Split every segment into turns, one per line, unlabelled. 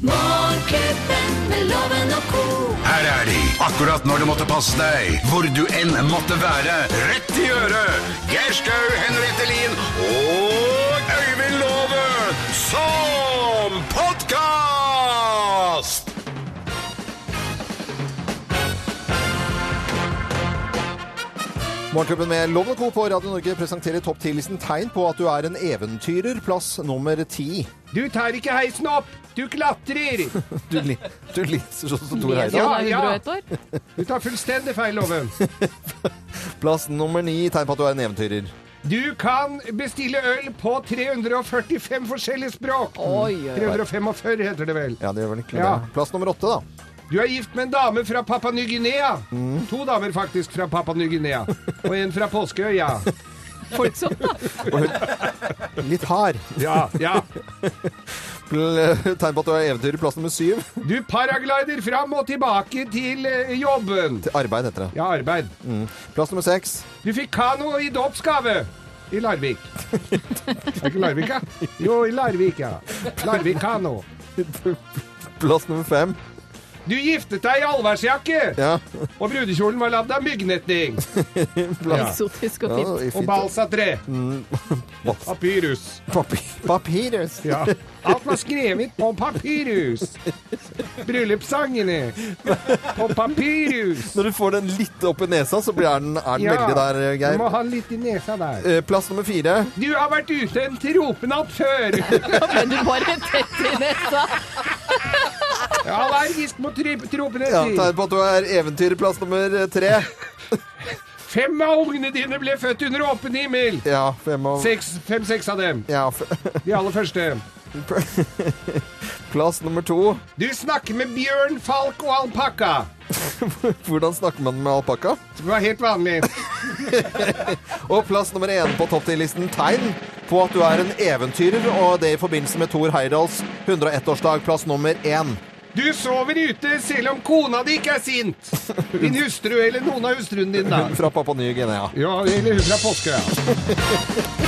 Morgenklubben med loven og ko.
Her er de, akkurat når du måtte passe deg, hvor du enn måtte være. Rett i øret! Geir Skau, Henriette Lien og Øyvind Låve som podkast!
Morgenklubben med Loven og Co. på Radio Norge presenterer topp 10-listen tegn på at du er en eventyrer, plass nummer ti.
Du tar ikke heisen opp! Du klatrer!
Du, li du liser sånn som Tor
Ja.
Heidal.
år.
Du tar fullstendig feil, Loven.
Plass nummer ni, tegn på at du er en eventyrer.
Du kan bestille øl på 345 forskjellige språk.
Oi, oi, oi.
345 heter det vel.
Ja, det gjør vel ikke
Ja.
det. Plass nummer åtte, da.
Du er gift med en dame fra Papua Ny-Guinea. To damer faktisk fra Papua Ny-Guinea. Og en fra Påskeøya.
Folk som da.
Litt hard.
Ja, ja.
Pl tegn på at du er eventyrer, plass nummer syv.
Du paraglider fram og tilbake til eh, jobben.
Til arbeid heter det.
Ja, arbeid.
Plass nummer seks.
Du fikk kano i dåpsgave. I Larvik. Er ikke Larvik, ja? Jo, i Larvik, ja. Larvik kano.
Plass nummer fem.
Du giftet deg i allværsjakke,
Ja.
og brudekjolen var lagd av myggnetting Ja.
Eksotisk og
ja
fint.
i
og
fint.
balsatre.
Bals-
Papyrus.
Papir papirus.
Ja. Alt var skrevet på papyrus. Bryllupssangene på papyrus.
Når du får den litt opp i nesa, så blir den, er den veldig der, eh,
Du må
Geir.
ha den litt i nesa der.
Eh, Plass nummer fire.
Du har vært ute en tropenatt før.
Men du bare tett i nesa.
Allergisk mot tro-
Ja,
tropenetter.
tegn på at du er eventyrer, plass nummer eh, tre.
Fem av ungene dine ble født under åpen himmel.
Ja, fem av
Fem-seks av dem.
ja, f
De aller første.
Plass nummer to.
Du snakker med bjørn, falk og alpakka.
Hvordan snakker man med alpakka?
Det var helt vanlig.
Og plass nummer én på topp 10-listen tegn på at du er en eventyrer, og det i forbindelse med Thor Heyerdahls 101-årsdag, plass nummer én.
Du sover ute selv om kona di ikke er sint. Din hustru eller noen av hustruen din, da.
Fra Papua Ny-Guinea.
Ja, eller hun fra Påskeøya.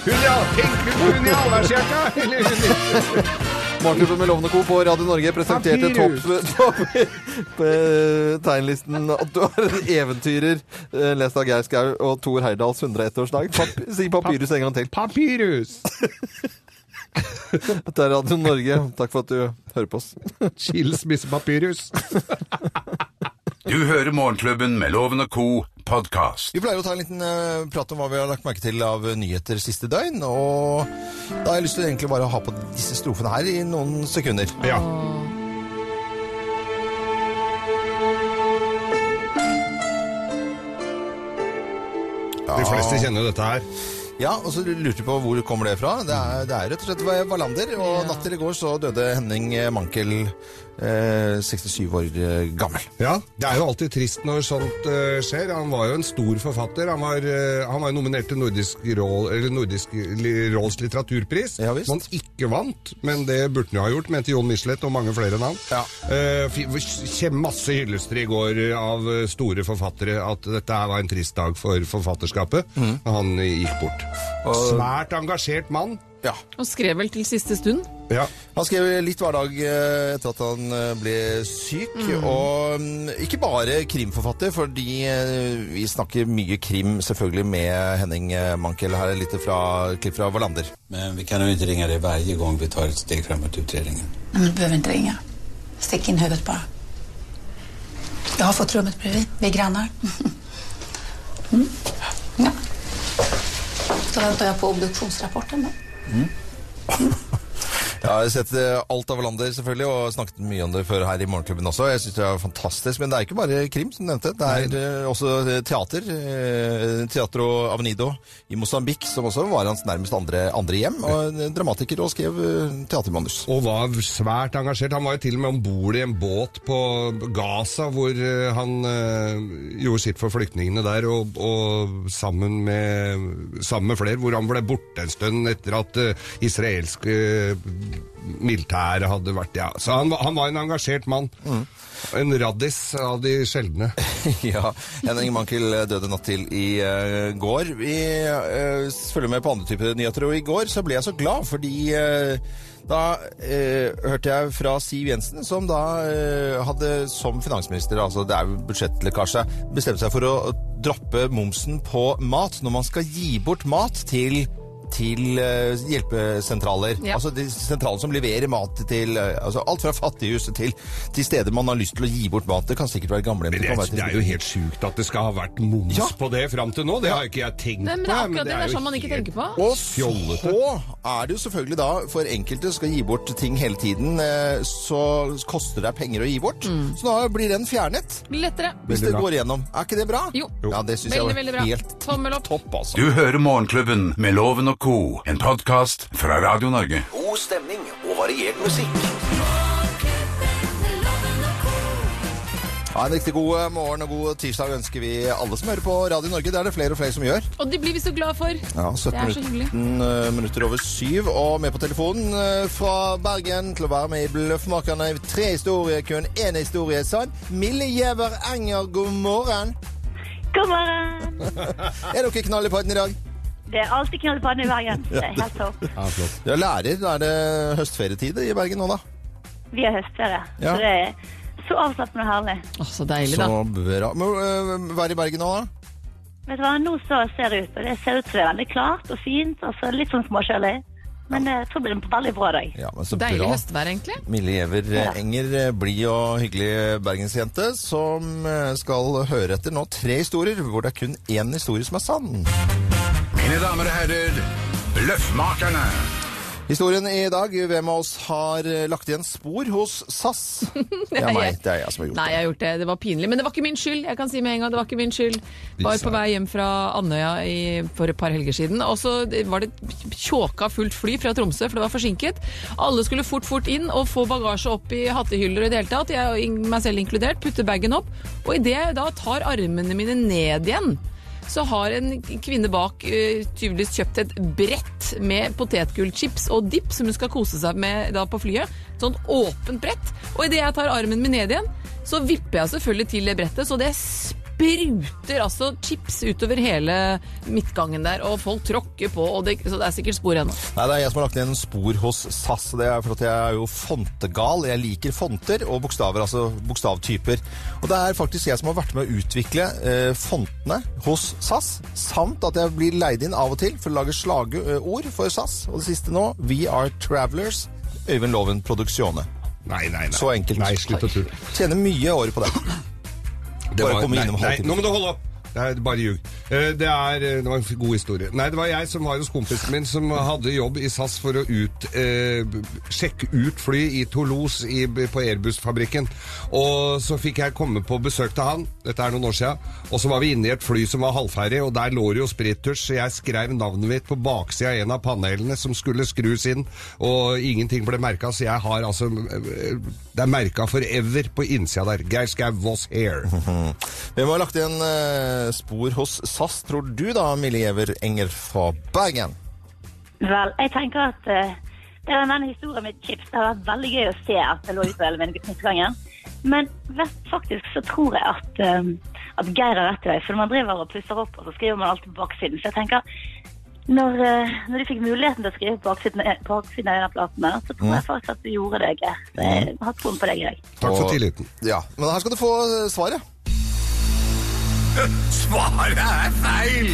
Hun, ja. Tenker du på hun i allværsjakka? Eller hun i
Morgenklubben med Lovende Co. på Radio Norge presenterte topp
Papirus.
topp- eh, tegnlisten at du er en eventyrer, eh, lest av Geir Skau og Thor Heyerdahls 101-årsdag. Pap si papyrus en gang til.
Papyrus.
Dette er Radio Norge. Takk for at du hører på oss.
Skilsmissepapyrus.
Du hører Morgenklubben med Loven og Co. podkast.
Vi pleier å ta en liten eh, prat om hva vi har lagt merke til av eh, nyheter siste døgn. Og da har jeg lyst til egentlig bare å ha på disse strofene her i noen sekunder.
Ja. De fleste kjenner jo dette her.
Ja, og så lurte vi på hvor kommer det fra. Det er, det er rett og slett Wallander. Og
Ja.
natt til i går så døde Henning eh, Mankel, eh, 67 år eh, gammel.
Ja, Det er jo alltid trist når sånt eh, skjer. Han var jo en stor forfatter. Han var, eh, han var jo nominert til Nordisk, råd, eller Nordisk li- råds litteraturpris,
Ja, visst.
som han ikke vant. Men det burde han jo ha gjort, mente Jon Michelet og mange flere enn han.
Ja.
Eh, fi- kjem masse hyllester i går eh, av eh, store forfattere at dette her var en trist dag for forfatterskapet.
Mm.
Han eh, gikk bort. Svært engasjert mann.
Ja.
Og skrev vel til siste stund.
Ja.
Han skrev litt hverdag eh, etter at han eh, ble syk, og mm, ikke bare krimforfatter, fordi eh, vi snakker mye krim selvfølgelig med Henning eh, Mankel her, litt fra klipp fra Wallander.
Men vi kan ju inte ringa dig varje gång vi tar ett steg framåt i utredningen.
Nej, men du behöver inte ringa. Stick in huvudet bara. Jag har fått rummet bredvid. Vi är grannar. Mm. Ja. Då väntar jag på obduktionsrapporten. Då.
Jeg har sett eh, alt av Wallander selvfølgelig, og snakket mye om det før her i Morgenklubben også. Jeg synes det er fantastisk, men det er ikke bare krim, som du nevnte. Det er eh, også eh, teater. eh, Teatro Avenido i Mosambik, som også var hans nærmest andre, andre hjem, og en dramatiker og skrev eh, teatermanus.
Og var svært engasjert. Han var jo til og med om bord i en båt på Gaza, hvor eh, han eh, gjorde sitt for flyktningene der, og, og sammen, med, sammen med flere, hvor han ble borte en stund etter at eh, israelske eh, militæret hadde vært ja. Så han, var- han var en engasjert mann.
Mm.
En raddis av de sjeldne.
ja. Henning Mankel døde natt til i eh, går. Vi eh, følger med på andre typer nyheter, og i går så ble jeg så glad fordi eh, da eh, hørte jeg fra Siv Jensen, som da eh, hadde som finansminister, altså det er jo budsjettlekkasje, bestemt seg for å droppe momsen på mat når man skal gi bort mat til til eh, hjelpesentraler.
Ja.
Altså de sentralene som leverer mat til eh, altså alt fra fattighuset til, til steder man har lyst til å gi bort mat. Det kan sikkert være gamle
Men det, er- det er jo helt sjukt at det skal ha vært moms
Ja.
på det fram til nå. Det har ikke jeg tenkt
Nei, men det er
på, men
akkurat det. Det er
jo
sånn man ikke
helt-
tenker på.
og så
Fjollete.
er det jo selvfølgelig da, for enkelte skal gi bort ting hele tiden, eh, så koster det penger å gi bort. Så da blir den fjernet,
Mm. Blir lettere.
hvis
Veldig
det
bra.
går igjennom. Er ikke det bra?
Jo.
Ja, det synes jeg
Veldig,
var
veldig bra.
helt
Tommel opp.
topp, altså.
Du hører Morgenklubben med Loven og Co., en podkast fra Radio Norge.
God stemning og variert musikk.
Ja, en riktig god eh, morgen og god tirsdag ønsker vi alle som hører på Radio Norge. Det er det flere og flere som gjør.
Og det blir vi så glad for.
Ja, 17
Det er så hyggelig.
minutter, eh, minutter over syv, og med på telefonen eh, fra Bergen til å være med i Bløffmakerne. Tre historier, kun én historie sann. Mille Gjever Enger, god morgen.
God morgen!
Er dere knall i podden i dag?
Det er alltid knall på den i Bergen. Det er helt topp.
Ja, flott.
Du er lærer, da er det høstferietid i Bergen nå, da.
Vi har høstferie,
Ja.
så det er så avslappende og herlig.
Å, så deilig,
Så
da.
bra. Må uh, være i Bergen nå, da?
Vet du hva, nå så ser det ut, og det ser ut som det er veldig klart og fint, og så litt sånn småkjølig. Men eh, jeg tror det blir en veldig bra dag.
Ja, men så
Deilig
bra.
høstvær, egentlig.
Mille Gjever
Ja.
Enger, eh, blid og hyggelig eh, bergensjente, som eh, skal høre etter nå tre historier hvor det er kun én historie som er sann.
Mine damer og herrer, Bløffmakerne.
Historien i dag, hvem av oss har eh, lagt igjen spor hos SAS? Det er meg, det er jeg som har gjort
Nei,
det.
jeg har gjort det. Det var pinlig. Men det var ikke min skyld. Jeg kan si med en gang, det var ikke min skyld. Var på vei hjem fra Andøya i, for et par helger siden, og så var det tjåka fullt fly fra Tromsø, for det var forsinket. Alle skulle fort, fort inn og få bagasje opp i hattehyller og i det hele tatt. Jeg og ing- meg selv inkludert, putte bagen opp. Og idet jeg da tar armene mine ned igjen, så har en kvinne bak eh, tydeligvis kjøpt et brett med potetgullchips og dipp som hun skal kose seg med da på flyet. Sånn åpent brett. Og idet jeg tar armen min ned igjen, så vipper jeg selvfølgelig til det brettet, så det spruter altså chips utover hele midtgangen der, og folk tråkker på, og det, så det er sikkert spor ennå.
Nei, det er jeg som har lagt igjen spor hos SAS. og Det er fordi jeg er jo fontegal. Jeg liker fonter og bokstaver, altså bokstavtyper. Og det er faktisk jeg som har vært med å utvikle eh, fontene hos SAS, samt at jeg blir leid inn av og til for å lage slagord eh, for SAS. Og det siste nå, We Are Travelers, Øyvind Loven Produksjone.
Nei, nei, nei.
Så enkelt.
Nei, slutt å tulle.
Tjener mye året på det.
Det
Bare
var-
kom
nei,
innom
nei,
halvtimen.
Nå må du holde opp! Det er bare ljug. Eh, Det, er, eh, det var en god historie. Nei, det var jeg som var hos kompisen min som hadde jobb i SAS for å ut, eh, b- sjekke ut fly i Toulouse i, b- på Airbus-fabrikken. Og så fikk jeg komme på besøk til han, dette er noen år siden, og så var vi inne i et fly som var halvferdig, og der lå det jo sprittusj, så jeg skrev navnet mitt på baksida av en av panelene som skulle skrus inn, og ingenting ble merka, så jeg har altså eh, Det er merka forever på innsida der. Geir Skau was here.
Mm. Vi må ha lagt igjen eh, spor hos SAS, tror du da, Mille Gjever Enger fra Bergen?
Vel, jeg tenker at eh, det er den historien med chips. Det har vært veldig gøy å se at det lå utover hele min- midtgangen. Men vet, faktisk så tror jeg at, eh, at Geir har rett i det. For når man driver og pusser opp, og så skriver man alltid på baksiden. Så jeg tenker, når, eh, når de fikk muligheten til å skrive på baksiden, eh, baksiden av en av platene, så tror jeg faktisk at du gjorde det, Geir. Så Jeg har troen på deg i dag.
Takk for
Og-
tilliten.
Ja, men her skal du få eh, svaret.
Svaret er feil!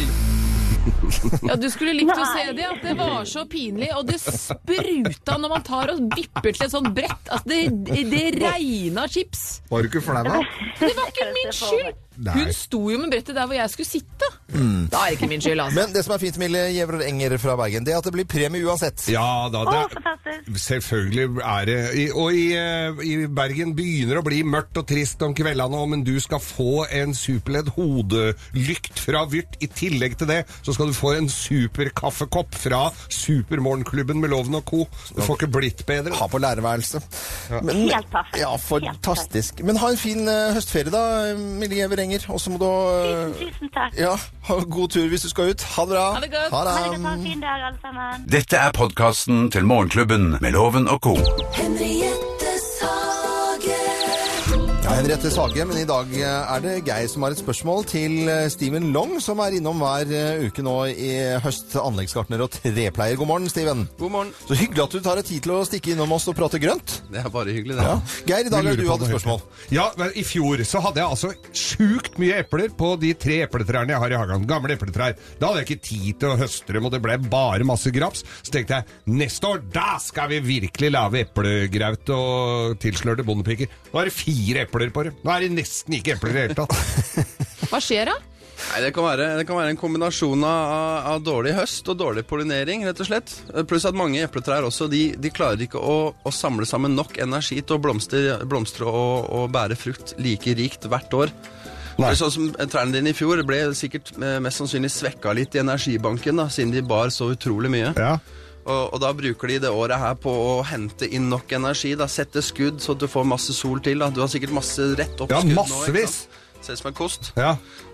Ja, du skulle likt å se
Nei.
det, at det var så pinlig, og det spruta når man tar og vipper til et sånt brett. Altså, det, det regna chips.
Var du ikke flau, da?
Det var ikke min skyld!
Nei.
Hun sto jo med brettet der hvor jeg skulle sitte. Da er det ikke min skyld, altså.
Men det som er fint, Mille Gjever Enger fra Bergen, det er at det blir premie uansett.
Ja da.
Å,
Det
fantastisk!
Selvfølgelig er det I- Og i, eh, i Bergen begynner å bli mørkt og trist om kveldene, og men du skal få en superledd hodelykt fra Vyrt. I tillegg til det så skal du få en superkaffekopp fra Supermorgenklubben med Loven og co. Du får ikke blitt bedre.
Ha på lærerværelset. Men-
Helt perfekt.
Ja,
Helt perfekt.
fantastisk. Men ha en fin eh, høstferie da, Mille Gjever penger, og så må du eh,
Tusen, tusen takk.
Ja, ha god tur hvis du skal ut. Ha det bra.
Ha det godt.
Ha det godt. Ha en fin dag, alle sammen.
Dette er podkasten til Morgenklubben med Loven og co.
Henriette Sagen.
Ja, Henriette Sage, men i dag eh, er det Geir som har et spørsmål til eh, Steven Long, som er innom hver eh, uke nå i høst. Anleggsgartner og trepleier. God morgen, Steven.
God morgen.
Så hyggelig at du tar deg tid til å stikke innom oss og prate grønt.
Det er bare hyggelig, det.
Geir, i dag har
Vi lurer
du
på
hatt
noe
et spørsmål.
Ja, men I fjor så hadde jeg altså sjukt mye epler på de tre epletrærne jeg har i hagen. Gamle epletrær. Da hadde jeg ikke tid til å høste dem, og det ble bare masse graps. Så tenkte jeg neste år, da skal vi virkelig lage eplegraut og tilslørte bondepiker. Nå er det fire epler på det. Nå er det nesten ikke epler i det hele tatt.
Hva skjer da?
Nei, det, kan være, det kan være en kombinasjon av, av- av dårlig høst og dårlig pollinering, rett og slett. Eh, Pluss at mange epletrær også, de, de klarer ikke å, å samle sammen nok energi til å blomstre, blomstre og, og bære frukt like rikt hvert år.
Nei.
Sånn som trærne dine i fjor ble sikkert eh, mest sannsynlig svekka litt i energibanken, da, siden de bar så utrolig mye.
Ja.
Og, og da bruker de det året her på å hente inn nok energi. da, Sette skudd så du får masse sol til. da. Du har sikkert masse rett opp
Ja,
skudd nå. ikke
massevis.
sant? Ser ut som en kost.
Ja.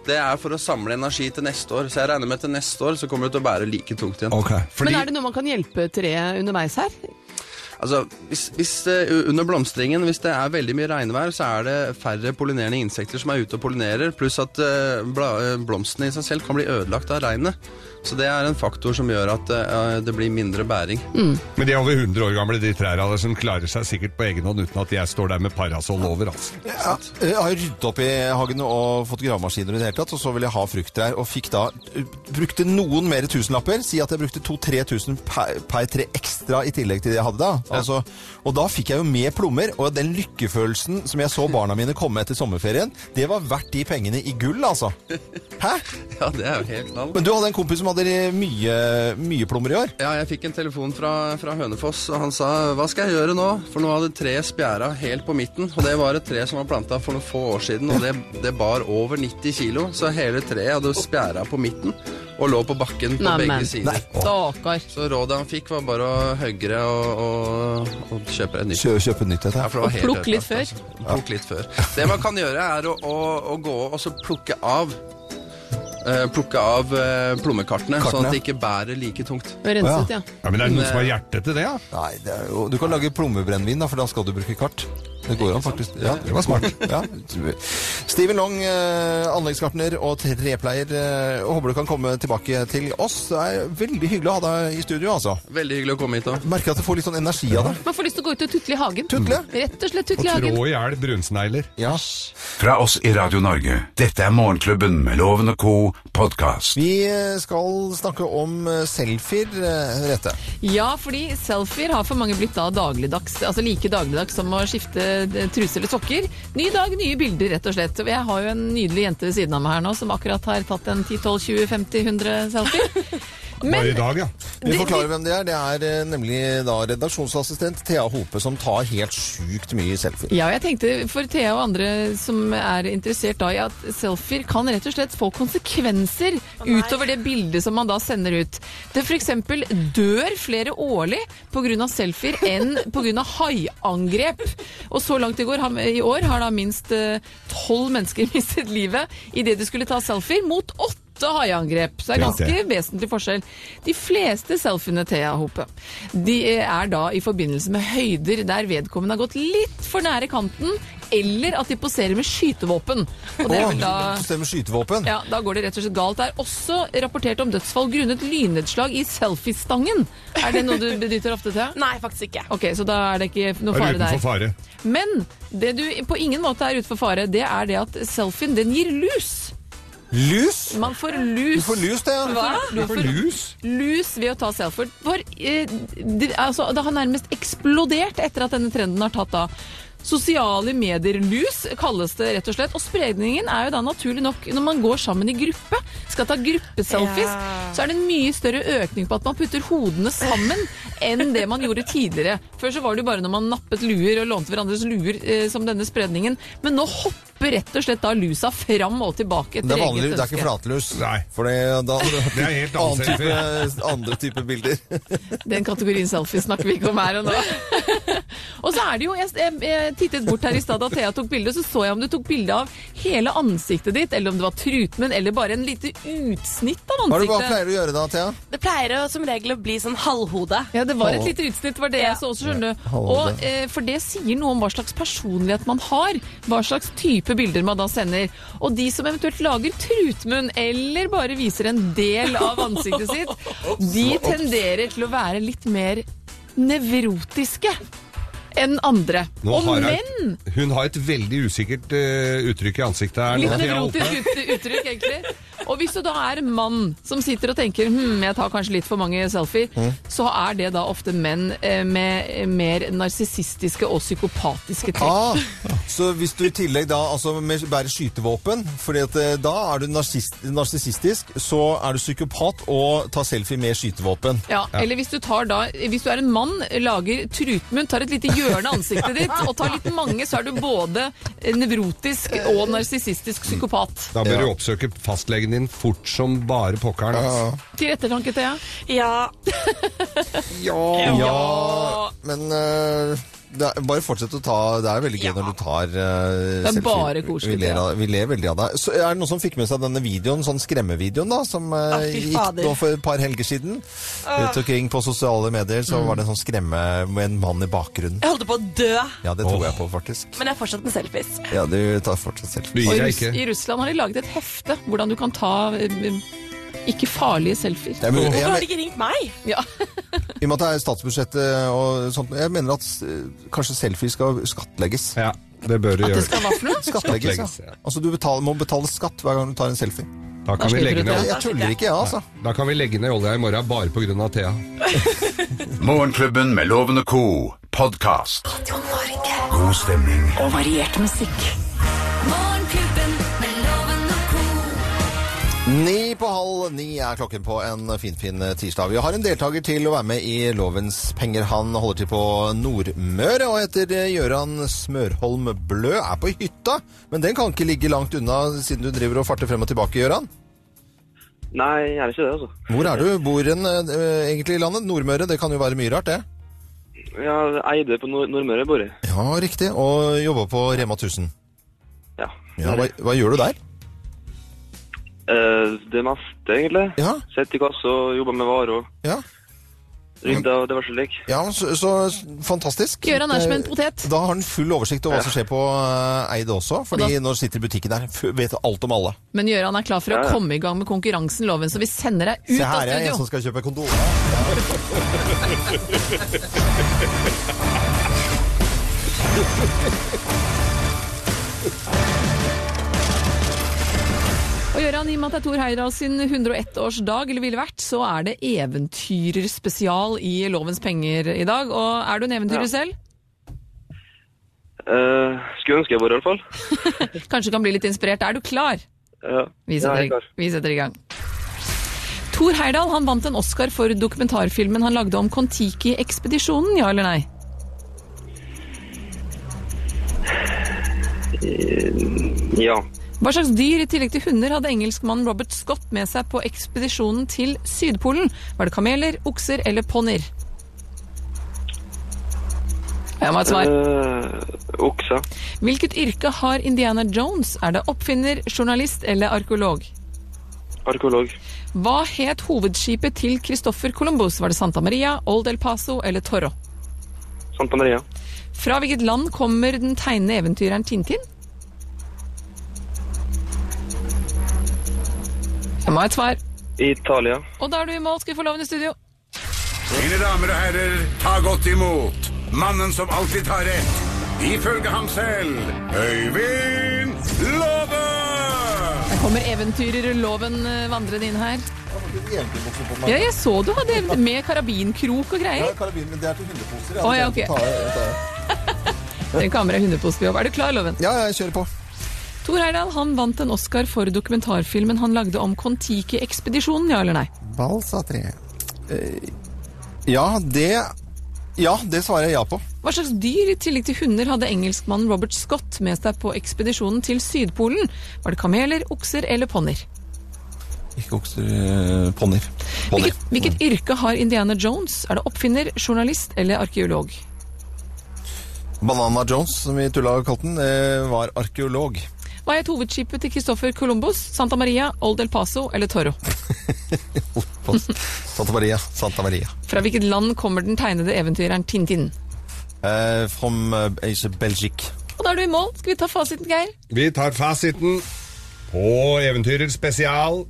Det er for å samle energi til neste år. Så jeg regner med til neste år så kommer det til å bære like tungt igjen.
Ok. Fordi
Men er det noe man kan hjelpe treet underveis her?
Altså, hvis, hvis eh, u- Under blomstringen, hvis det er veldig mye regnvær, så er det færre pollinerende insekter som er ute og pollinerer, pluss at eh, bla, eh, blomstene i seg selv kan bli ødelagt av regnet. Så det er en faktor som gjør at eh, det blir mindre bæring.
Men de er over 100 år gamle, de trærne der, som klarer seg sikkert på egen hånd uten at jeg står der med parasoll over. altså.
Ja, jeg eh, har ryddet opp i hagen og fått gravemaskiner i det hele tatt, og så vil jeg ha frukttrær, og fikk da eh, brukte noen mer tusenlapper, si at jeg brukte 2-3 tusen per, per tre ekstra i tillegg til det jeg hadde da. Altså, og da fikk jeg jo med plommer, og den lykkefølelsen som jeg så barna mine komme etter sommerferien, det var verdt de pengene i gull, altså. Hæ?
Ja, det er jo helt knall.
Men du hadde en kompis som hadde mye, mye plommer i år.
Ja, jeg fikk en telefon fra, fra Hønefoss, og han sa hva skal jeg gjøre nå? For nå hadde treet spjæra helt på midten, og det var et tre som var planta for noen få år siden, og det, det bar over 90 kilo, så hele treet hadde spjæra på midten og lå på bakken på
Nei, men.
begge sider.
Stakkar.
Så rådet han fikk, var bare å høgge det og, og, og kjøpe et nytt.
Kjø, kjøpe nytt dette.
Ja, for det var
Og
helt
plukk litt
ødelagt,
før.
altså. Plukk litt før. Det man kan gjøre, er å, å, å gå og så plukke av. eh, plukke av eh, plommekartene, sånn
Kartene,
at det ikke bærer like tungt.
Renset, ja.
Ja, Men er det noen som har hjerte til det, ja?
Nei, det er jo, du kan lage plommebrennvin, da, for da skal du bruke kart. Det går an, faktisk. Ja, det var smart. ja. Steven Long, eh, anleggsgartner og trepleier, eh, håper du kan komme tilbake til oss. Det er veldig hyggelig å ha deg i studio, altså.
Veldig hyggelig å komme hit òg.
Merker at du får litt sånn energi av det.
Man får lyst til å gå ut og tutle i hagen.
Tutle?
Rett og slett tutle i hagen.
Trå i hjel brunsnegler.
Ja.
Fra oss i Radio Norge. Dette er Morgenklubben med Loven og co. podkast.
Vi eh, skal snakke om eh, selfier, eh, Rette.
Ja, fordi selfier har for mange blitt da dagligdags, altså like dagligdags som å skifte eh, truse eller sokker. Ny dag, nye bilder, rett og slett. Og Jeg har jo en nydelig jente ved siden av meg her nå som akkurat har tatt en 10-12-20-50-100 selfier.
Bare
Men
i dag, ja.
Vi forklarer hvem det er. Det er eh, nemlig da redaksjonsassistent Thea Hope som tar helt sjukt mye selfier.
Ja, jeg tenkte for Thea og andre som er interessert da i at selfier kan rett og slett få konsekvenser utover det bildet som man da sender ut. Det for eksempel dør flere årlig pga. selfier enn pga. haiangrep. Og så langt i går har- i år har da minst eh, tolv mennesker mistet livet idet de skulle ta selfier, mot åtte. Haiangrep, så det er ganske vesentlig forskjell. De fleste selfiene Thea Hope de er da i forbindelse med høyder der vedkommende har gått litt for nære kanten, eller at de poserer med skytevåpen. Og det er vel da...
Å, stemmer skytevåpen.
Ja, Da går det rett og slett galt. Det er også rapportert om dødsfall grunnet lynnedslag i selfiestangen. Er det noe du benytter ofte til?
Nei, faktisk ikke.
Ok, Så da er det ikke noe
Bare
fare der.
utenfor fare.
Men det du på ingen måte er ute for fare, det er det at selfien den gir lus.
Lus!
Man får lus.
Du får lus, det.
Hva? Du får lus ved å ta selfie. For eh, det, altså, det har nærmest eksplodert etter at denne trenden har tatt av. Sosiale medier-lus kalles det rett og slett. Og spredningen er jo da naturlig nok når man går sammen i gruppe, skal ta gruppeselfies,
Ja.
så er det en mye større økning på at man putter hodene sammen enn det man gjorde tidligere. Før så var det jo bare når man nappet luer og lånte hverandres luer eh, som denne spredningen. Men nå hopper rett og slett da lusa fram og tilbake
Det
etter
er vanlig,
eget
det er ikke
ønske.
flatlus.
Nei.
For det, da,
Det er helt
annen
annet
type,
selfie.
andre type bilder.
Den kategorien selfie snakker vi ikke om her og nå. Og så er det jo Jeg, jeg, jeg tittet bort her i stad da Thea tok bilde, så så jeg om du tok bilde av hele ansiktet ditt, eller om det var trutmunn, eller bare en lite utsnitt av
Hva, er det,
ansiktet.
hva pleier du å gjøre da, Thea?
Det pleier å, som regel å bli sånn halvhode.
Ja, det var et lite utsnitt, var det jeg så også, skjønner du.
Halvhode.
Og, eh, for det sier noe om hva slags personlighet man har, hva slags type bilder man da sender. Og de som eventuelt lager trutmunn, eller bare viser en del av ansiktet sitt, de tenderer til å være litt mer nevrotiske enn andre.
Nå
Og
har jeg-
menn!
Hun har et veldig usikkert eh, uttrykk i ansiktet her. nå,
Litt
Thea
nevrotisk
Holte.
ut- uttrykk, egentlig. Og hvis du da er en mann som sitter og tenker hm, jeg tar kanskje litt for mange selfier, så er det da ofte menn eh, med mer narsissistiske og psykopatiske trekk.
Ah, så hvis du i tillegg da altså, med- bærer skytevåpen, for da er du narsist- narsissistisk, så er du psykopat og tar selfie med skytevåpen.
Ja, Eller hvis du, tar da, hvis du er en mann, lager trutmunn, tar et lite hjørne av ansiktet ditt og tar litt mange, så er du både nevrotisk og narsissistisk psykopat.
Da bør du oppsøke fastlegen din fort som bare pokkeren. altså.
Til ettertanke, Thea.
Ja.
Ja, Men eh, det er, bare fortsett å ta Det er veldig gøy når du tar uh,
Det er bare koselig,
Vi ler, av- vi ler veldig av deg. Så er det noen som fikk med seg denne videoen, sånn skremmevideoen, da, som eh,
Ah, fy
gikk
fader.
nå for et par helger siden? Rundt omkring på sosiale medier
Mm.
så var det en sånn skremme med en mann i bakgrunnen.
Jeg holdt på å dø,
Ja, det tror jeg på, faktisk.
men jeg er fortsatt med selfies.
Ja, du tar fortsatt selv.
Du
Og i,
gir deg
Russ
ikke.
I Russland har de laget et hefte hvordan du kan ta eh, ikke farlige selfier.
Jeg, mener- jeg,
Hvorfor har
mener-
de ikke ringt meg?
Ja.
I og med at det er statsbudsjettet og sånt Jeg mener at eh, kanskje selfie skal skattlegges.
Ja, det bør du
At det
gjøre.
skal hva for noe?
Skattlegges,
Skattlegges, ja.
ja. Altså, du betale- må betale skatt hver gang du tar en selfie.
Da kan, vi
slipper
legge
du
ned,
det.
Jeg tuller ikke, jeg, altså.
da kan vi legge ned olja i morgen bare pga. Thea.
Morgenklubben med Lovende Co. Podcast.
Radio Norge.
God stemning
Og variert musikk.
Morgenklubben med loven og ko.
Ni på halv ni er klokken på en finfin fin tirsdag. Vi har en deltaker til å være med i Lovens penger. Han holder til på Nordmøre og heter Gjøran Smørholm Blø. Er på hytta, men den kan ikke ligge langt unna siden du driver og farter frem og tilbake, Gjøran.
Nei, jeg er ikke det, altså.
Hvor er du? Bor en eh, egentlig i landet? Nordmøre, det kan jo være mye rart, det.
Jeg eide på Nord Nordmøre, bor jeg.
Ja, riktig. Og jobba på Rema 1000.
Ja.
Ja, hva, hva gjør du der?
Eh, det meste, egentlig.
Ja,
Sett i kassa, jobba med varer, og
ja.
rydda og diverse lik.
ja så, så fantastisk. Eh,
Gjøran er som en potet.
Da har han full oversikt over hva som skjer på eh, Eid også, fordi nå sitter butikken der. f- Vet alt om alle.
Men Gjøran er klar for å
Ja, ja.
komme i gang med konkurransen, Loven, så vi sender deg ut
Se
av
her er jeg
studio.
som skal kjøpe kondomer.
Og Gjøran, i og med at det er Thor Heyerdahl sin 101-årsdag, eller ville vært, så er det eventyrerspesial i Lovens penger i dag. Og er du en eventyrer
Ja.
selv?
Eh, skulle ønske jeg var i hvert fall.
Kanskje kan bli litt inspirert. Er du klar?
Ja.
Vi
Ja,
setter,
jeg er klar.
vi setter i gang. Thor Heyerdahl han vant en Oscar for dokumentarfilmen han lagde om Kon-Tiki-ekspedisjonen, ja eller nei?
Ja.
Hva slags dyr i tillegg til hunder hadde engelskmannen Robert Scott med seg på ekspedisjonen til Sydpolen? Var det kameler, okser eller ponnier? Jeg må ha et svar.
Eh, okse.
Hvilket yrke har Indiana Jones? Er det oppfinner, journalist eller arkeolog?
Arkeolog.
Hva het hovedskipet til Christoffer Columbus? Var det Santa Maria, Old El Paso eller Torro?
Santa Maria.
Fra hvilket land kommer den tegnende eventyreren Tintin? Jeg må ha et svar.
Italia.
Og da er du i mål. Skal vi få loven i studio?
Mine damer og herrer, ta godt imot mannen som alltid tar rett. Ifølge ham selv Øyvind Låve!
Kommer eventyrerloven eh, vandrende inn her?
Jentebukser på
Ja,
meg.
jeg så du hadde event- med karabinkrok og
Ja,
greier.
karabin, men det er til hundeposer.
Å, ja, ok. Den kamera hundeposten vi har. Er du klar, Loven?
Ja, ja, jeg kjører på.
Thor Heyerdahl han vant en Oscar for dokumentarfilmen han lagde om Kon-Tiki-ekspedisjonen, ja eller nei?
Balsatre. Eh, Ja, det Ja, det svarer jeg ja på.
Hva slags dyr i tillegg til hunder hadde engelskmannen Robert Scott med seg på ekspedisjonen til Sydpolen? Var det kameler, okser eller ponnier?
Ikke okser Ponnier.
Hvilket, hvilket yrke har Indiana Jones? Er det oppfinner, journalist eller arkeolog?
Banana Jones, som vi tulla og kalte den, eh, var arkeolog.
Hva het hovedskipet til Christoffer Columbus? Santa Maria, Old El Paso eller Toro?
På Santa Maria. Santa Maria.
Fra hvilket land kommer den tegnede eventyreren Tintin?
Eh, from eh, Asia Belgique.
Og da er du i mål. Skal vi ta fasiten, Geir?
Vi tar fasiten på Eventyrer spesial.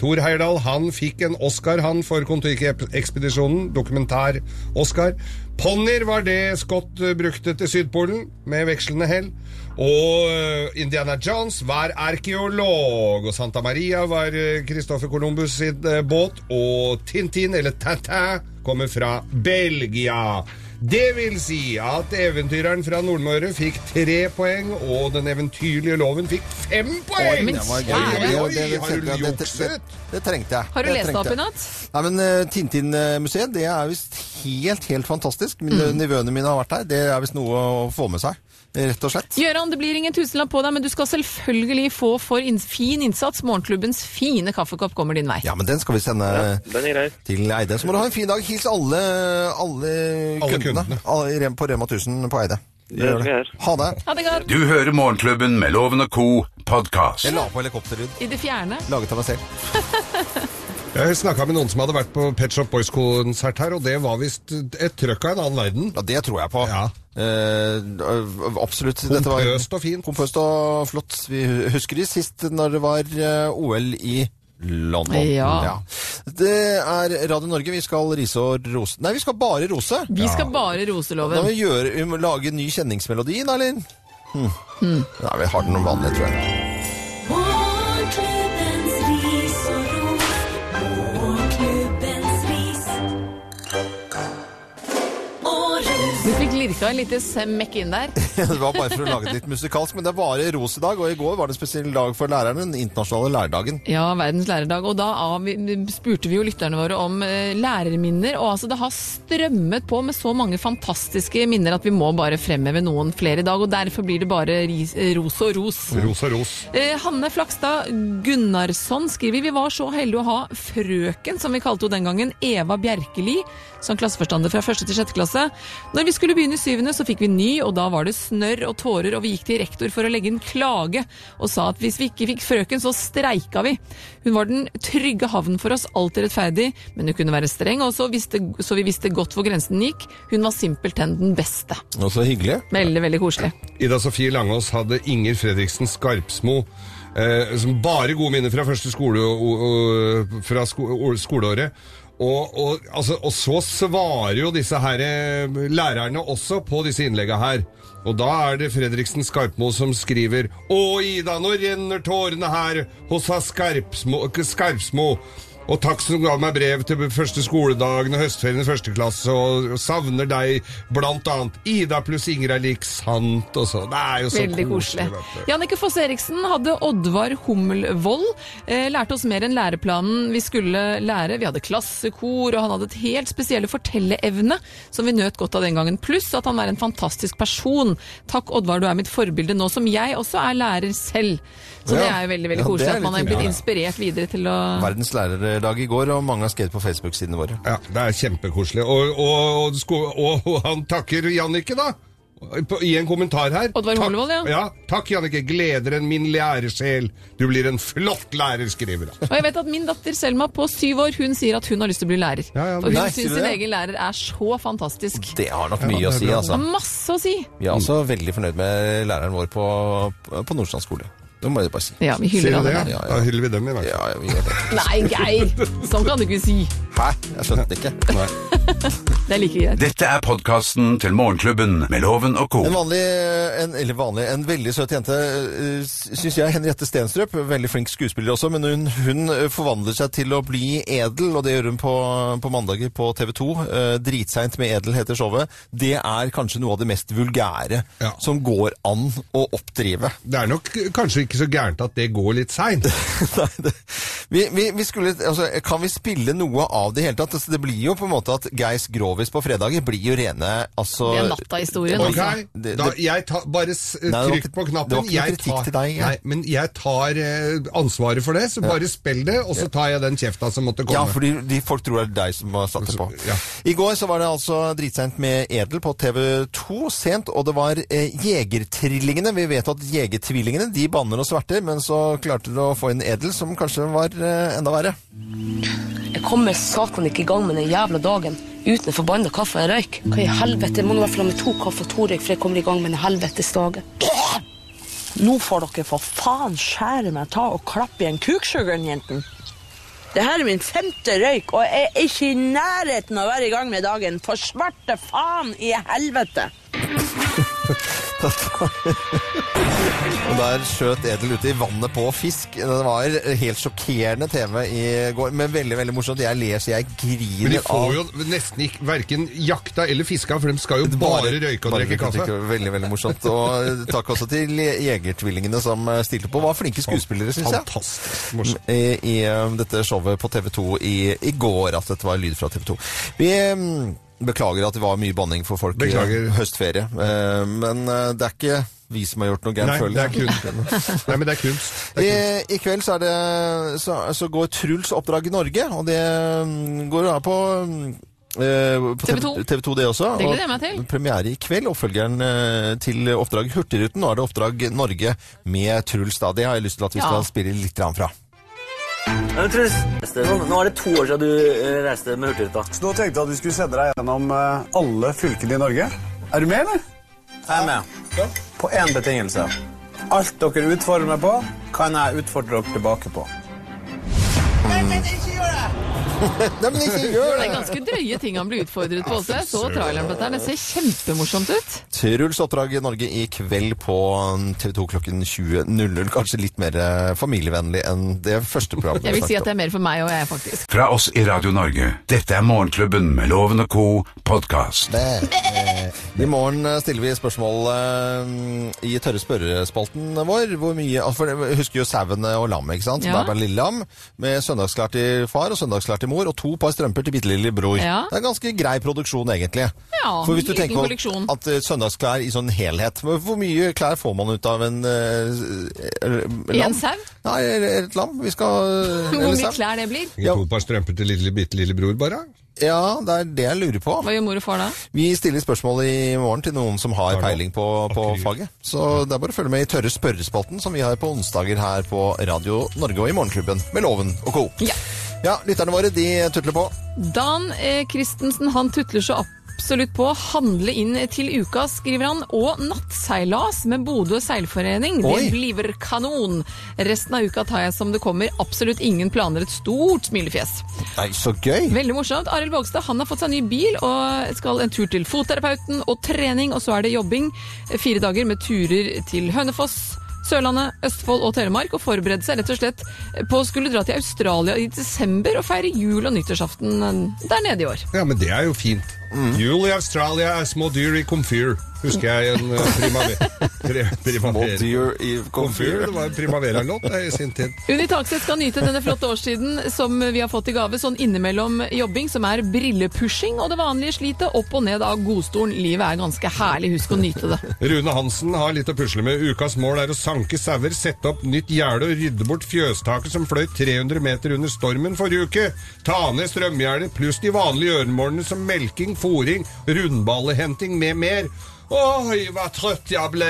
Thor Heyerdahl han fikk en Oscar han for Kon-Tiki-ekspedisjonen, dokumentar-Oscar. Ponnier var det Scott eh, brukte til Sydpolen, med vekslende hell. Og eh, Indiana Jones var arkeolog, og Santa Maria var eh, Christopher Columbus sin eh, båt, og Tintin, eller Tintin, kommer fra Belgia. Det vil si at eventyreren fra Nordmøre fikk tre poeng, og den eventyrlige loven fikk fem
Oi,
poeng!
det var gøy.
Oi, oi,
Det- det-
oi, har
det-
du
det-
jukset?
Det, det trengte jeg.
Har du lest deg opp
trengte
i
jeg.
natt?
Nei, men eh, Tintin-museet det er visst helt, helt fantastisk. Mine,
Mm.
Nivåene mine har vært der. Det er visst noe å få med seg, rett og slett.
Gøran, det blir ingen tusenlapp på deg, men du skal selvfølgelig få for inn- fin innsats. Morgenklubbens fine kaffekopp kommer din vei.
Ja, men den skal vi sende
Den er grei.
til Eide. Så må du ha en fin dag. Hils alle, alle, kundene, Alle i Rem- på Rema 1000 på Eide. Gjør det. Ha det.
Ha det godt.
Du hører Morgenklubben med Loven og Co. podkast.
Jeg la på helikopterlyd.
I det fjerne.
Laget av meg selv.
Jeg snakka med noen som hadde vært på Pet Shop Boys-konsert her, og det var visst et trøkk av en annen verden.
Ja, det tror jeg på.
Ja.
Eh, øh, absolutt.
Pompøst
og fint. Pompøst og flott. Vi hu- husker det sist når det var eh, OL i London.
Ja.
Det er Radio Norge. Vi skal rise og rose Nei, vi skal bare rose.
Vi skal bare rose
Da må
loven.
vi, gjøre, vi må lage en ny kjenningsmelodi, da, eller? Hm.
Hmm.
Nei, vi har den noe vanlig, tror jeg.
Morgenklubbens ris og ros. Morgenklubbens ris og ros.
Du fikk lirka en liten smekk inn der.
det var bare for å lage det litt musikalsk, men det er bare ros i dag. Og i går var det en spesiell dag for lærerne, den internasjonale lærerdagen.
Ja, verdens lærerdag. Og da av, spurte vi jo lytterne våre om eh, lærerminner. Og altså, det har strømmet på med så mange fantastiske minner at vi må bare fremheve noen flere i dag. Og derfor blir det bare ris, eh, ros og ros.
Ros og ros.
Eh, Hanne Flakstad Gunnarsson skriver vi var så heldige å ha frøken, som vi kalte henne den gangen, Eva Bjerkeli, som klasseforstander fra 1. til 6. klasse. Når vi skulle begynne i 7., så fikk vi ny, og da var det snørr og tårer, og vi gikk til rektor for å legge inn klage, og sa at hvis vi ikke fikk frøken, så streika vi. Hun var den trygge havnen for oss, alltid rettferdig, men hun kunne være streng, og så, visste, så vi visste godt hvor grensen gikk. Hun var simpelthen den beste.
Og så hyggelig.
Veldig, veldig koselig.
Ida Sofie Langås hadde Inger Fredriksen Skarpsmo. Eh, som bare gode minner fra første skole, o- o- fra sko, o- skoleåret. Og, og, altså, og så svarer jo disse her, eh, lærerne også på disse innlegga her. Og da er det Fredriksen Skarpmo som skriver Å, Ida, nå renner tårene her hos ha Skarpsmo, Skarpsmo. Og takk som ga meg brev til første skoledagen og høstferien i første klasse, og savner deg blant annet. Ida pluss Inger er lik sant, og så. Det er jo så
Veldig koselig.
vet du.
Jannicke Foss Eriksen hadde Oddvar Hummelvold. Eh, lærte oss mer enn læreplanen vi skulle lære. Vi hadde klassekor, og han hadde et helt spesielle fortelleevne som vi nøt godt av den gangen. Pluss at han er en fantastisk person. Takk, Oddvar, du er mitt forbilde nå som jeg også er lærer selv. Så det
Ja.
er jo veldig
Ja,
veldig
det
koselig
er
at man
litt
er blitt
hyggelig.
inspirert videre til å
Verdens lærerdag i går, og mange har skrevet på Facebook-sidene våre.
Ja, det er kjempekoselig. Og, og, og, sko- og, og han takker Jannicke, da. På- I en kommentar her.
Oddvar
Takk-
Hummelvold, ja.
ja. Takk, Jannicke. Gleder en min læresjel. Du blir en flott lærer, skriver
Og
han.
jeg vet at min datter Selma på syv år hun sier at hun har lyst til å bli lærer. og hun
Nei,
syns
sier du
sin
det?
egen lærer er så fantastisk.
Det har nok mye å si, altså.
Har masse å si!
Vi er altså veldig fornøyd med læreren vår på, på Nordstrand skole. Det må jeg bare si.
Ja, vi hyller
Sier du
alle
det?
der.
Ja, Da hyller vi dem, i hvert fall.
Ja, ja, vi gjør det.
Nei, Geir! Sånn kan du ikke si.
Hæ? Jeg skjønte det ikke.
Det er like greit.
Dette er podkasten til Morgenklubben med Loven og Co.
En vanlig, en, eller vanlig, en veldig søt jente, eh, s- synes jeg, Henriette Stenstrøp, veldig flink skuespiller også, men hun, hun forvandler seg til å bli edel, og det gjør hun på, på mandager på TV 2. Eh, Dritseint med edel heter showet. Det er kanskje noe av det mest vulgære
Ja.
som går an å oppdrive.
Det er nok kanskje ikke så gærent at det går litt seint.
Nei, det, vi, vi, vi skulle, altså, kan vi spille noe av av det i hele tatt. Altså, det blir jo på en måte at Geirs Grovis på fredager blir jo rene altså,
Det er natta-historien,
Ok,
altså.
det-
Da,
det-
jeg tar, bare s-
Nei, det var
trykk
ikke-
på
det var
knappen.
ikke noe
Jeg
kritikk
tar,
til deg, jeg.
nei, men jeg tar eh, ansvaret for det, så
Ja.
bare spill det, og så tar jeg den kjefta som måtte komme.
Ja, fordi de folk tror det er deg som har satt det på. I går så var det altså dritseint med Edel på TV2, sent, og det var eh, Jegertrillingene. Vi vet at Jegertvillingene de banner og sverter, men så klarte du å få inn Edel, som kanskje var eh, enda verre.
Jeg kommer satan ikke i gang med den jævla dagen uten en forbanna kaffe og en røyk. Hva i helvete? Jeg må nå i hvert fall ha med to kaffe og to røyk før jeg kommer i gang med den helvetes dagen.
Nå får dere for faen skjære meg ta og klappe igjen kuksugeren, jenten. Det her er min femte røyk, og jeg er ikke i nærheten av å være i gang med dagen. For svarte faen i helvete!
Og der skjøt Edel ute i vannet på fisk. Det var helt sjokkerende TV i går, men veldig veldig morsomt. Jeg ler så jeg
Men de
griner
får jo nesten ikke verken jakta eller fiska, for de skal jo bare, røyke og
bare
drikke
røyke og
kaffe.
drikke. Veldig, veldig morsomt. Og eh, takk også til Jegertvillingene som eh, stilte på. Var flinke skuespillere, syns jeg.
Fantastisk
I, I um, dette showet på TV 2 i, i går, at dette var lyd fra TV 2. Vi um, beklager at det var mye banning for folk
Beklager.
i høstferie, Eh, men eh, det er ikke vi som har gjort noe
Nei,
gærent,
det er
føler jeg.
kunst. Nei, men det er kunst.
I, I kveld så, er det, så, så går Truls oppdrag i Norge, og det mm, går da på eh, TV 2.
TV2.
TV 2 det også.
Det gleder
og
jeg meg til.
Premiere i kveld, oppfølgeren eh, til oppdrag Hurtigruten. Nå er det oppdrag Norge med Truls da. Det har jeg lyst til at vi
Ja.
skal spille litt grann fra.
Ja, men Truls, Stefan, nå er det to år siden du eh, reiste med Hurtigruta. Så nå tenkte jeg at vi skulle sende deg gjennom eh, alle fylkene i Norge. Er du med, eller? Jeg er med. På én betingelse. Alt dere utfordrer meg på, kan jeg utfordre dere tilbake på.
Nei, men ikke gjør det!
Nei, men ikke
Det er ganske drøye ting han ble utfordret på også. Jeg så traileren på dette. her. Det ser kjempemorsomt ut.
Truls oppdrag i Norge i kveld på mm, TV 2 klokken 20.00. Kanskje litt mer eh, familievennlig enn det første programmet.
Jeg vil si at det er mer for meg og jeg, faktisk.
Fra oss i Radio Norge, dette er Morgenklubben med Loven og Co. podkast.
I morgen eh, stiller vi spørsmål eh, i tørre spørrespalten vår. Hvor mye, altså, for jeg husker jo sauene og lammet, ikke sant?
Ja.
Bærbæren lille lam. Med søndagsklær til far og søndagsklær til mor, og to par strømper til bitte lille bror.
Ja.
Det er en ganske grei produksjon, egentlig.
Ja,
For hvis du
liten
tenker på
kolleksjon.
at eh, søndagsklær i sånn helhet hvor- Hvor mye klær får man ut av en eh, eh, lam?
En sau?
Nei, eller et lam. Vi skal eh,
Hvor mye klær det blir?
To par strømper til lille, bitte lille bror, bare?
Ja, det er det jeg lurer på.
Hva gjør mor og far da?
Vi stiller spørsmål i morgen til noen som har peiling på, på faget. Så det er bare å følge med i Tørre spørrespalten, som vi har på onsdager her på Radio Norge og i Morgenklubben med Loven og co. Ja. lytterne våre de tutler på.
Dan eh, Christensen han tutler så absolutt på handle inn til uka, skriver han, og nattseilas med Bodø seilforening.
Oi.
Det blir kanon. Resten av uka tar jeg som det kommer. Absolutt ingen planer. Et stort smilefjes.
Nei, så gøy!
Veldig morsomt. Arild Vågstad han har fått seg ny bil og skal en tur til fotterapeuten og trening, og så er det jobbing. eh, Fire dager med turer til Hønefoss. Sørlandet, Østfold og Telemark, og forberede seg rett og slett på å skulle dra til Australia i desember og feire jul og nyttårsaften eh, der nede i år.
Ja, men det er jo fint.
Mm.
Jul i Australia er små dyr i komfyr, husker jeg en eh, primavera. Pri, primavera.
dyr i
komfyr? Det var en primavera-låt eh, i sin tid.
Unni Takset skal nyte denne flotte årstiden som vi har fått i gave, sånn innimellom jobbing, som er brillepushing og det vanlige slitet, opp og ned av godstolen. Livet er ganske herlig, husk å nyte det.
Rune Hansen har litt å pusle med. Ukas mål er å sanke sauer, sette opp nytt gjerde og rydde bort fjøstaket som fløy 300 meter under stormen forrige uke. Ta ned strømgjerdet, pluss de vanlige gjøremålene som melking, fòring, rundballehenting med mer. Oi, hva trøtt jeg ble!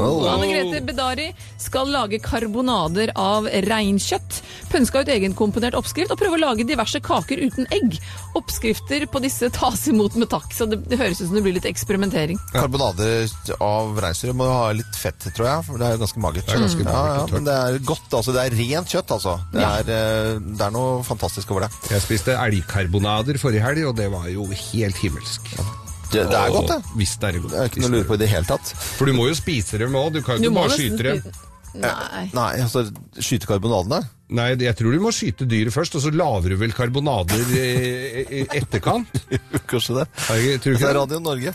Oh. Anne Grete Bedari skal lage karbonader av reinkjøtt. Pønska ut egenkomponert oppskrift og prøve å lage diverse kaker uten egg. Oppskrifter på disse tas imot med takk, så det, det høres ut som det blir litt eksperimentering.
Karbonader av reinsdyr må ha litt fett, tror jeg. For det er jo ganske magert.
Det er ganske
ja,
magert
ja,
og
men det er godt, altså. Det er rent kjøtt, altså. Det er, eh, det er noe fantastisk over det.
Jeg spiste elgkarbonader forrige helg, og det var jo helt himmelsk.
Det, det er
Åh,
godt, det.
Visst er det godt.
Det er ikke noe å lure på i det hele tatt.
For du må jo spise dem òg, du kan
Du
jo ikke
må
bare
nesten
skyte dem.
spise- Nei. Nei, altså skyte karbonadene?
Nei, jeg tror du må skyte dyret først, og så lager du vel karbonader i, i etterkant.
Kanskje det.
Jeg
Det
tror
er
ikke det.
Radio Norge.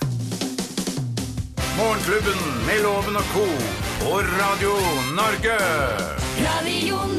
Morgenklubben med Loven og Co. på Radio Norge.
Radio